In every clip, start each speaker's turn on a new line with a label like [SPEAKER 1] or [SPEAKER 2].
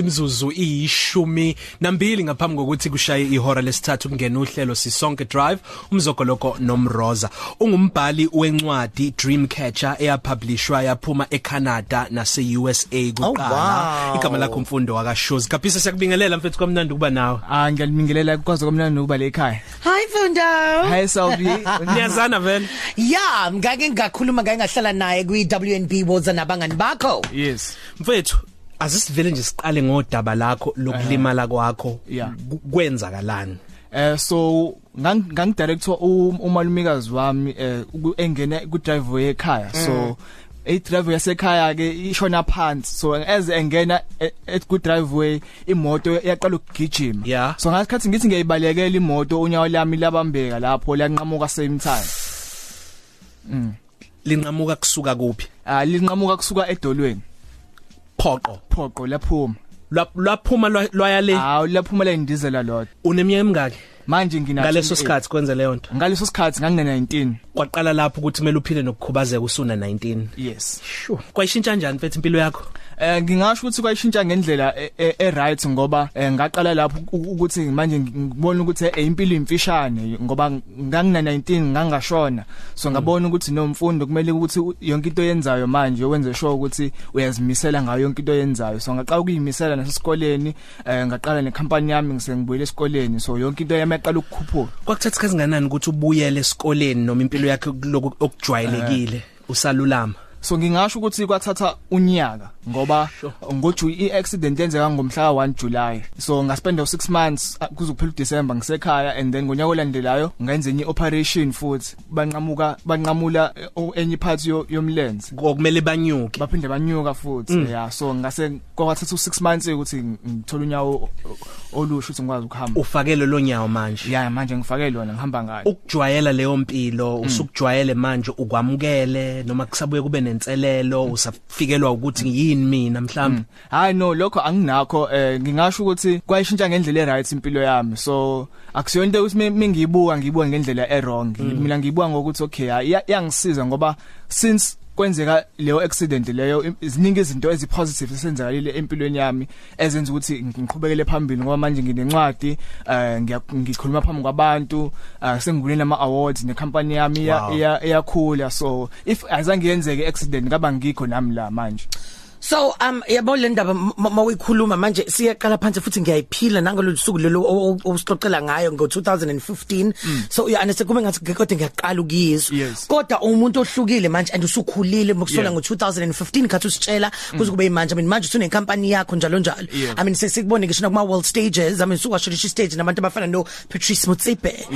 [SPEAKER 1] imizuzu iyishumi nambili ngaphambi kokuthi kushaye ihora lesithathu kungena uhlelo sisonke drive umzogoloko nomroza ungumbhali wencwadi Dreamcatcher eyapublishwa yaphuma eCanada naseUSA kuqala
[SPEAKER 2] Oh, wow.
[SPEAKER 1] igama lakho mfundo wakashozi kaphisa siyakubingelela mfethu kwamnandi ukuba nawe
[SPEAKER 2] Ah ngiyalingelela kwaze kwamnandi ukuba la ekhaya.
[SPEAKER 3] Hi Fundo.
[SPEAKER 2] Hi Selfie.
[SPEAKER 1] niyazana vele
[SPEAKER 3] Yeah, ngake ngakhuluma ngake ngahlala naye kwi WNB Woza nabangani bakho.
[SPEAKER 2] Yes.
[SPEAKER 1] mfethu azisivele nje siqale ngodaba lakho lokulimala kwakho
[SPEAKER 2] Yeah.
[SPEAKER 1] Ku- kwenzakalani
[SPEAKER 2] Eh so ngang ngangidirector u- umalumikazi wami eh uku- engene ku driveway ekhaya. So
[SPEAKER 3] Mm.
[SPEAKER 2] e driveway yasekhaya ke ishona phansi. So as engena e- at ku driveway imoto yaqala ukugijima.
[SPEAKER 1] Yeah.
[SPEAKER 2] So ngasikhathi ngithi ngiyayibalekela imoto unyawo lami labambeka lapho lanqamuka same time.
[SPEAKER 1] linqamuka kusuka kuphi
[SPEAKER 2] Ah linqamuka kusuka edolweni
[SPEAKER 1] phoqo
[SPEAKER 2] phoqo laphuma.
[SPEAKER 1] Lwa- lwaphuma lwa- lwaya le
[SPEAKER 2] Ah laphuma la indizela lot.
[SPEAKER 1] uneminyaka emingaki
[SPEAKER 2] Manje ngina
[SPEAKER 1] ngaleso
[SPEAKER 2] 28.
[SPEAKER 1] sikhathi kwenza leyo nto
[SPEAKER 2] ngaleso sikhathi ngangine 19
[SPEAKER 1] kwaqala lapho ukuthi kumele uphile nokukhubazeka usuna 19
[SPEAKER 2] yes
[SPEAKER 1] sure kwayishintsha kanjani mfethu impilo yakho
[SPEAKER 2] eh ngingasho ukuthi kwayishintsha ngendlela e- e- e right ngoba eh, ngaqala lapho u- u- ukuthi manje ngibona ukuthi eh, impilo imfishane ngoba ngangina 19 ngangashona
[SPEAKER 1] Mm.
[SPEAKER 2] so ngabona ukuthi nomfundo kumele ukuthi u- yonke into yenzayo manje wenze sure ukuthi uyazimisela ngayo yonke into yenzayo so ngaqala ukuyimisela nasesikoleni eh, ngaqala necompany yami ngisengibuyele esikoleni so yonke into yami yaqala ukukhuphuka
[SPEAKER 1] kwakuthatha isikhathi kangakanani ukuthi ubuyele esikoleni noma impilo yakho kuloku okujwayelekile usalulama
[SPEAKER 2] so ngingasho ukuthi kwathatha unyaka ngoba ngoju i-accident yenzeka ngomhla ka-1 July so ngaspenda u6 months ah, kuze kuphela uDecember ngisekhaya and then ngonyaka olandelayo ngenze enye operation futhi banqamuka banqamula eh, o- enye iphathi yo- yomlenze
[SPEAKER 1] okumele banyuke
[SPEAKER 2] baphinde banyuka futhi yeah so ngase kwathatha u6 months ukuthi ngithola unyawo olusho ukuthi ngikwazi
[SPEAKER 1] Oh.
[SPEAKER 2] ukuhamba
[SPEAKER 1] ufakele lo nyawo manje
[SPEAKER 2] yeah manje ngifake lona ngihamba ngalo
[SPEAKER 1] ukujwayela leyo mpilo usukujwayele manje ukwamukele noma kusabuye kube nenselelo usafikelwa ukuthi yini mina mhlawumbe
[SPEAKER 2] Hmm. hayi no lokho anginakho eh ngingasho ukuthi kwayishintsha ngendlela eright impilo yami so akusiyonto ukuthi me- mengiyibuka ngiyibuka ngendlela errong mina ngiyibuka ngokuthi okay hayi iya- iyangisiza ngoba since kwenzeka leyo accident leyo im- ziningi izinto ezipositive esenzakalile empilweni yami ezenza ukuthi ngi- ngiqhubekele phambili ngoba manje nginencwadi eh ngiya- ngikhuluma phambi kwabantu eh, sengivule nama awards necompany yami iya-
[SPEAKER 1] Wow.
[SPEAKER 2] iya- iyakhula so if azange yenzeke accident kaba ngikho nami la manje
[SPEAKER 3] So um yabo le ndaba m- m- mawikhuluma manje siyaqala phansi futhi ngiyayiphila nangalo suku lelo o- o- osixoxela ngayo ngo2015 so yeah anese kume ngathi kodwa ngiyaqala
[SPEAKER 2] Mm. Yes.
[SPEAKER 3] ukuyizwa kodwa umuntu ohlukile manje and usukhulile
[SPEAKER 2] Yeah. Mm.
[SPEAKER 3] mokusona ngo2015 ngathi usitshela kuze kube manje I mean manje usune company yakho njalo njalo
[SPEAKER 2] Yeah.
[SPEAKER 3] I mean sesikubone ngisho nakuma world stages I mean sukwasholisha stage nabantu abafana no Patrice Mutsipe
[SPEAKER 2] Yes.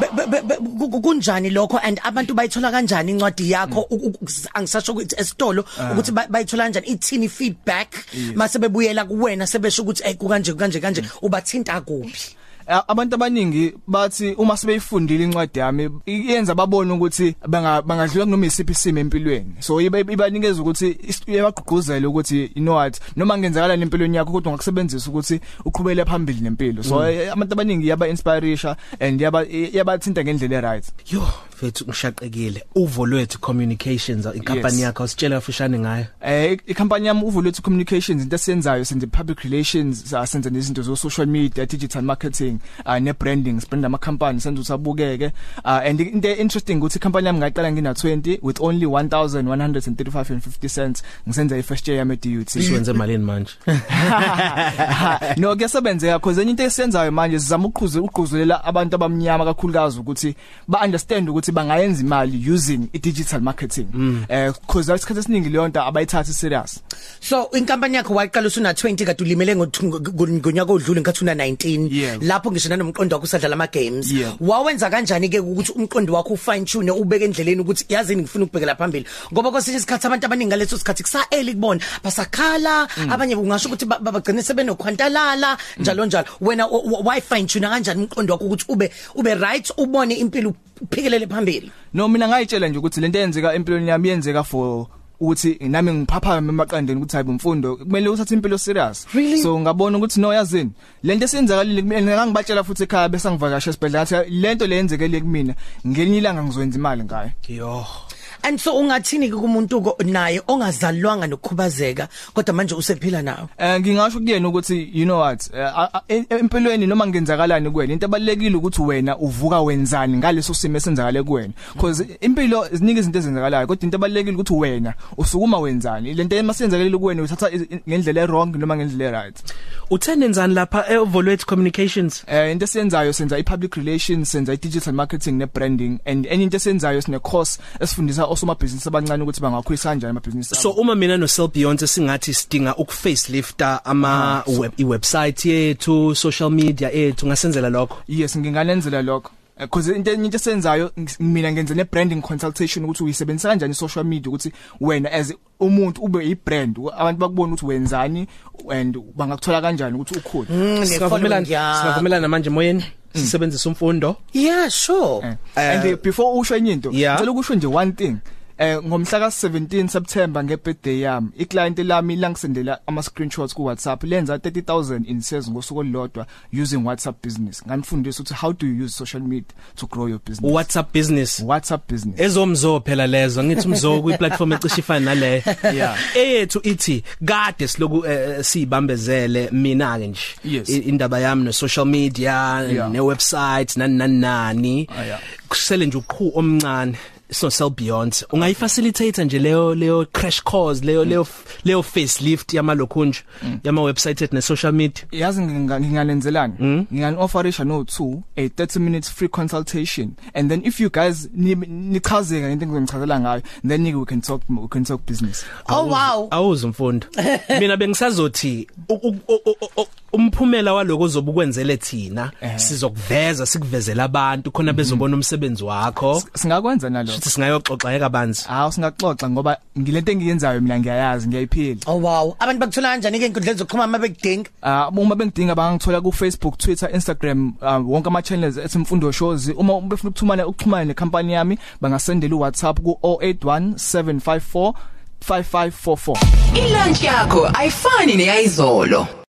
[SPEAKER 3] Be- be- be- be- ku- ku- kunjani lokho and abantu bayithola kanjani incwadi yakho U- u- u- angisasho ukuthi esitolo ukuthi ba- bayithola kanjani ithini feedback mase bebuyela kuwena sebesho ukuthi hey kanje kanje kanje ubathinta kuphi
[SPEAKER 2] A- Eh, abantu abaningi bathi uma sebeyifundile incwadi yami iyenza babone ukuthi banga- bangadlula kunoma isiphi isimo empilweni so iba- ibanikeza ukuthi is- iyabagqugquzela ukuthi you know what noma kungenzakala empilweni yakho kodwa ungakusebenzisa ukuthi uqhubele phambili nempilo so eh, abantu abaningi iyaba inspireisha and iyaba iyabathinta ngendlela eright
[SPEAKER 1] yo mfethu ngishaqekile uvo lwethu communications inkampani
[SPEAKER 2] Yes.
[SPEAKER 1] yakho usitshela fushane ngayo
[SPEAKER 2] eh ikhampani yami uvulethe communications into esiyenzayo senze public relations ah, senze nezinto zo social media digital marketing ah, ne branding brand ama company senze ukuthi abukeke ah, and into interesting ukuthi ikhampani yami ngaqala ngina 20 with only 1135.50 cents ngisenza i first year yami e DUT
[SPEAKER 1] isiwenze malini manje
[SPEAKER 2] no kuyasebenzeka because enye into esiyenzayo manje sizama ukuqhuze uqhuzulela abantu abamnyama kakhulukazi ukuthi ba understand ukuthi bangayenza imali using i digital marketing eh because isikhathi esiningi leyo nto abayithathi serious
[SPEAKER 3] so inkampani yakho wayiqala usuna 20 kade ulimele ngo- ngo- ngonyaka odlule ngathi una 19
[SPEAKER 2] Yeah.
[SPEAKER 3] lapho ngisho nanomqondo wakho usadlala ama games
[SPEAKER 2] Yeah.
[SPEAKER 3] wawenza kanjani ke ukuthi umqondo wakho ufine tune ubeke endleleni ukuthi yazini ngifuna ukubhekela phambili ngoba kwesinye isikhathi abantu abaningi ngaleso sikhathi kusaeli kubona basakhala abanye ungasho ukuthi ba- ba- bagcine sebenokhwantalala njalo njalo wena o- o- why fine tune kanjani umqondo wakho ukuthi ube ube right ubone impilo uphikelele phambili
[SPEAKER 2] no mina ngayitshela nje ukuthi lento eyenzeka empilweni yami yenzeka for ukuthi nami ngiphaphame emaqandeni ukuthi hayi umfundo kumele uthathe impilo serious
[SPEAKER 3] Really?
[SPEAKER 2] so ngabona ukuthi no yazini lento esenzakalile kumele ngangibatshela futhi ekhaya bese ngivakasha esibhedlela ngathi lento leyenzekele kumina ngelinye ilanga ngizowenza imali ngayo
[SPEAKER 1] yo
[SPEAKER 3] and so ungathini ke kumuntu ko- naye ongazalwanga nokukhubazeka kodwa manje usephila nawo
[SPEAKER 2] Eh ngingasho kuyena ukuthi you know what eh, a- a- em- empilweni noma kungenzakalani kuwena into abalekile ukuthi wena uvuka wenzani ngaleso simo esenzakale kuwena because impilo ziningi izinto ezenzakalayo kodwa into abalekile ukuthi wena usukuma wenzani lento emasenzakale kuwena uthatha i- i- ngendlela errong noma ngendlela eright
[SPEAKER 4] uthenenzani lapha evolvet communications
[SPEAKER 2] eh into esiyenzayo senza i-public relations senza i-digital marketing ne-branding and enye into esiyenzayo sine-course esifundisa osomabhizinisi abancane ukuthi bangakhulisa kanjani amabhizinisi abo.
[SPEAKER 1] so uma mina no Sel Beyonce singathi sidinga ukufacelifta ama web iwebsite yethu social media ethu ngasenzela lokho
[SPEAKER 2] yes nginganenzela lokho because into enye into esenzayo ngi- mina ngenze ne branding consultation ukuthi uyisebenzisa kanjani i-social media ukuthi wena as umuntu ube i-brand u- abantu bakubona ukuthi wenzani and bangakuthola kanjani ukuthi ukhule
[SPEAKER 1] Siyavumelana siyavumelana manje moyeni sisebenzisa umfundo
[SPEAKER 3] yeah sure
[SPEAKER 2] Eh, and before usho enye into
[SPEAKER 1] yeah.
[SPEAKER 2] ngicela ukusho nje one thing eh ngomhla ka 17 September ngebirthday yami iclient lami langisendela ama screenshots ku WhatsApp lenza 30000 in sales ngosuku olulodwa using WhatsApp business nganifundisa ukuthi how do you use social media to grow your business
[SPEAKER 1] WhatsApp business
[SPEAKER 2] WhatsApp business
[SPEAKER 1] ezomzo phela lezo ngithi umzo kuyiplatform ecishifana naleyo
[SPEAKER 2] Yeah.
[SPEAKER 1] eyethu ithi kade siloku eh, siyibambezele mina ke nje
[SPEAKER 2] Yes.
[SPEAKER 1] I- indaba yami no social media
[SPEAKER 2] Yeah.
[SPEAKER 1] ne website nani nani nani
[SPEAKER 2] Ah, yeah.
[SPEAKER 1] kusele nje uqhu omncane so sell beyond ungayifacilitate nje leyo leyo crash course leyo leyo leyo facelift yamalokhunje
[SPEAKER 2] Mm.
[SPEAKER 1] yama website ethu ne social media
[SPEAKER 2] yazi nginga- ngingalenzelani ngingani offerisha no 2 a 30 minutes free consultation and then if you guys ni- nichazeka into engizonichazela ngayo then we can talk we can talk business
[SPEAKER 3] oh wow
[SPEAKER 1] awuzi mfundo mina bengisazothi u- u- u- u- u- umphumela waloko ozobukwenzele thina
[SPEAKER 3] Eh.
[SPEAKER 1] sizokuveza sikuvezela abantu khona bezobona umsebenzi wakho
[SPEAKER 2] singakwenza nalokho
[SPEAKER 1] futhi singayoxoxa ekabanzi
[SPEAKER 2] hawo singaxoxa ngoba ngilento engiyenzayo mina ngiyayazi ngiyayiphila
[SPEAKER 3] oh wow abantu bakuthola kanjani ke inkundleni zokuxhumana mabekudinga
[SPEAKER 2] Uh uma bengidinga bangangithola ku Facebook, Twitter, Instagram, uh, wonke ama channels esimfundo shows. Uma befuna ukuthumana ukuxhumana necompany yami, bangasendela uWhatsApp ku 0817545544.
[SPEAKER 5] ilunch yakho ayifani neyayizolo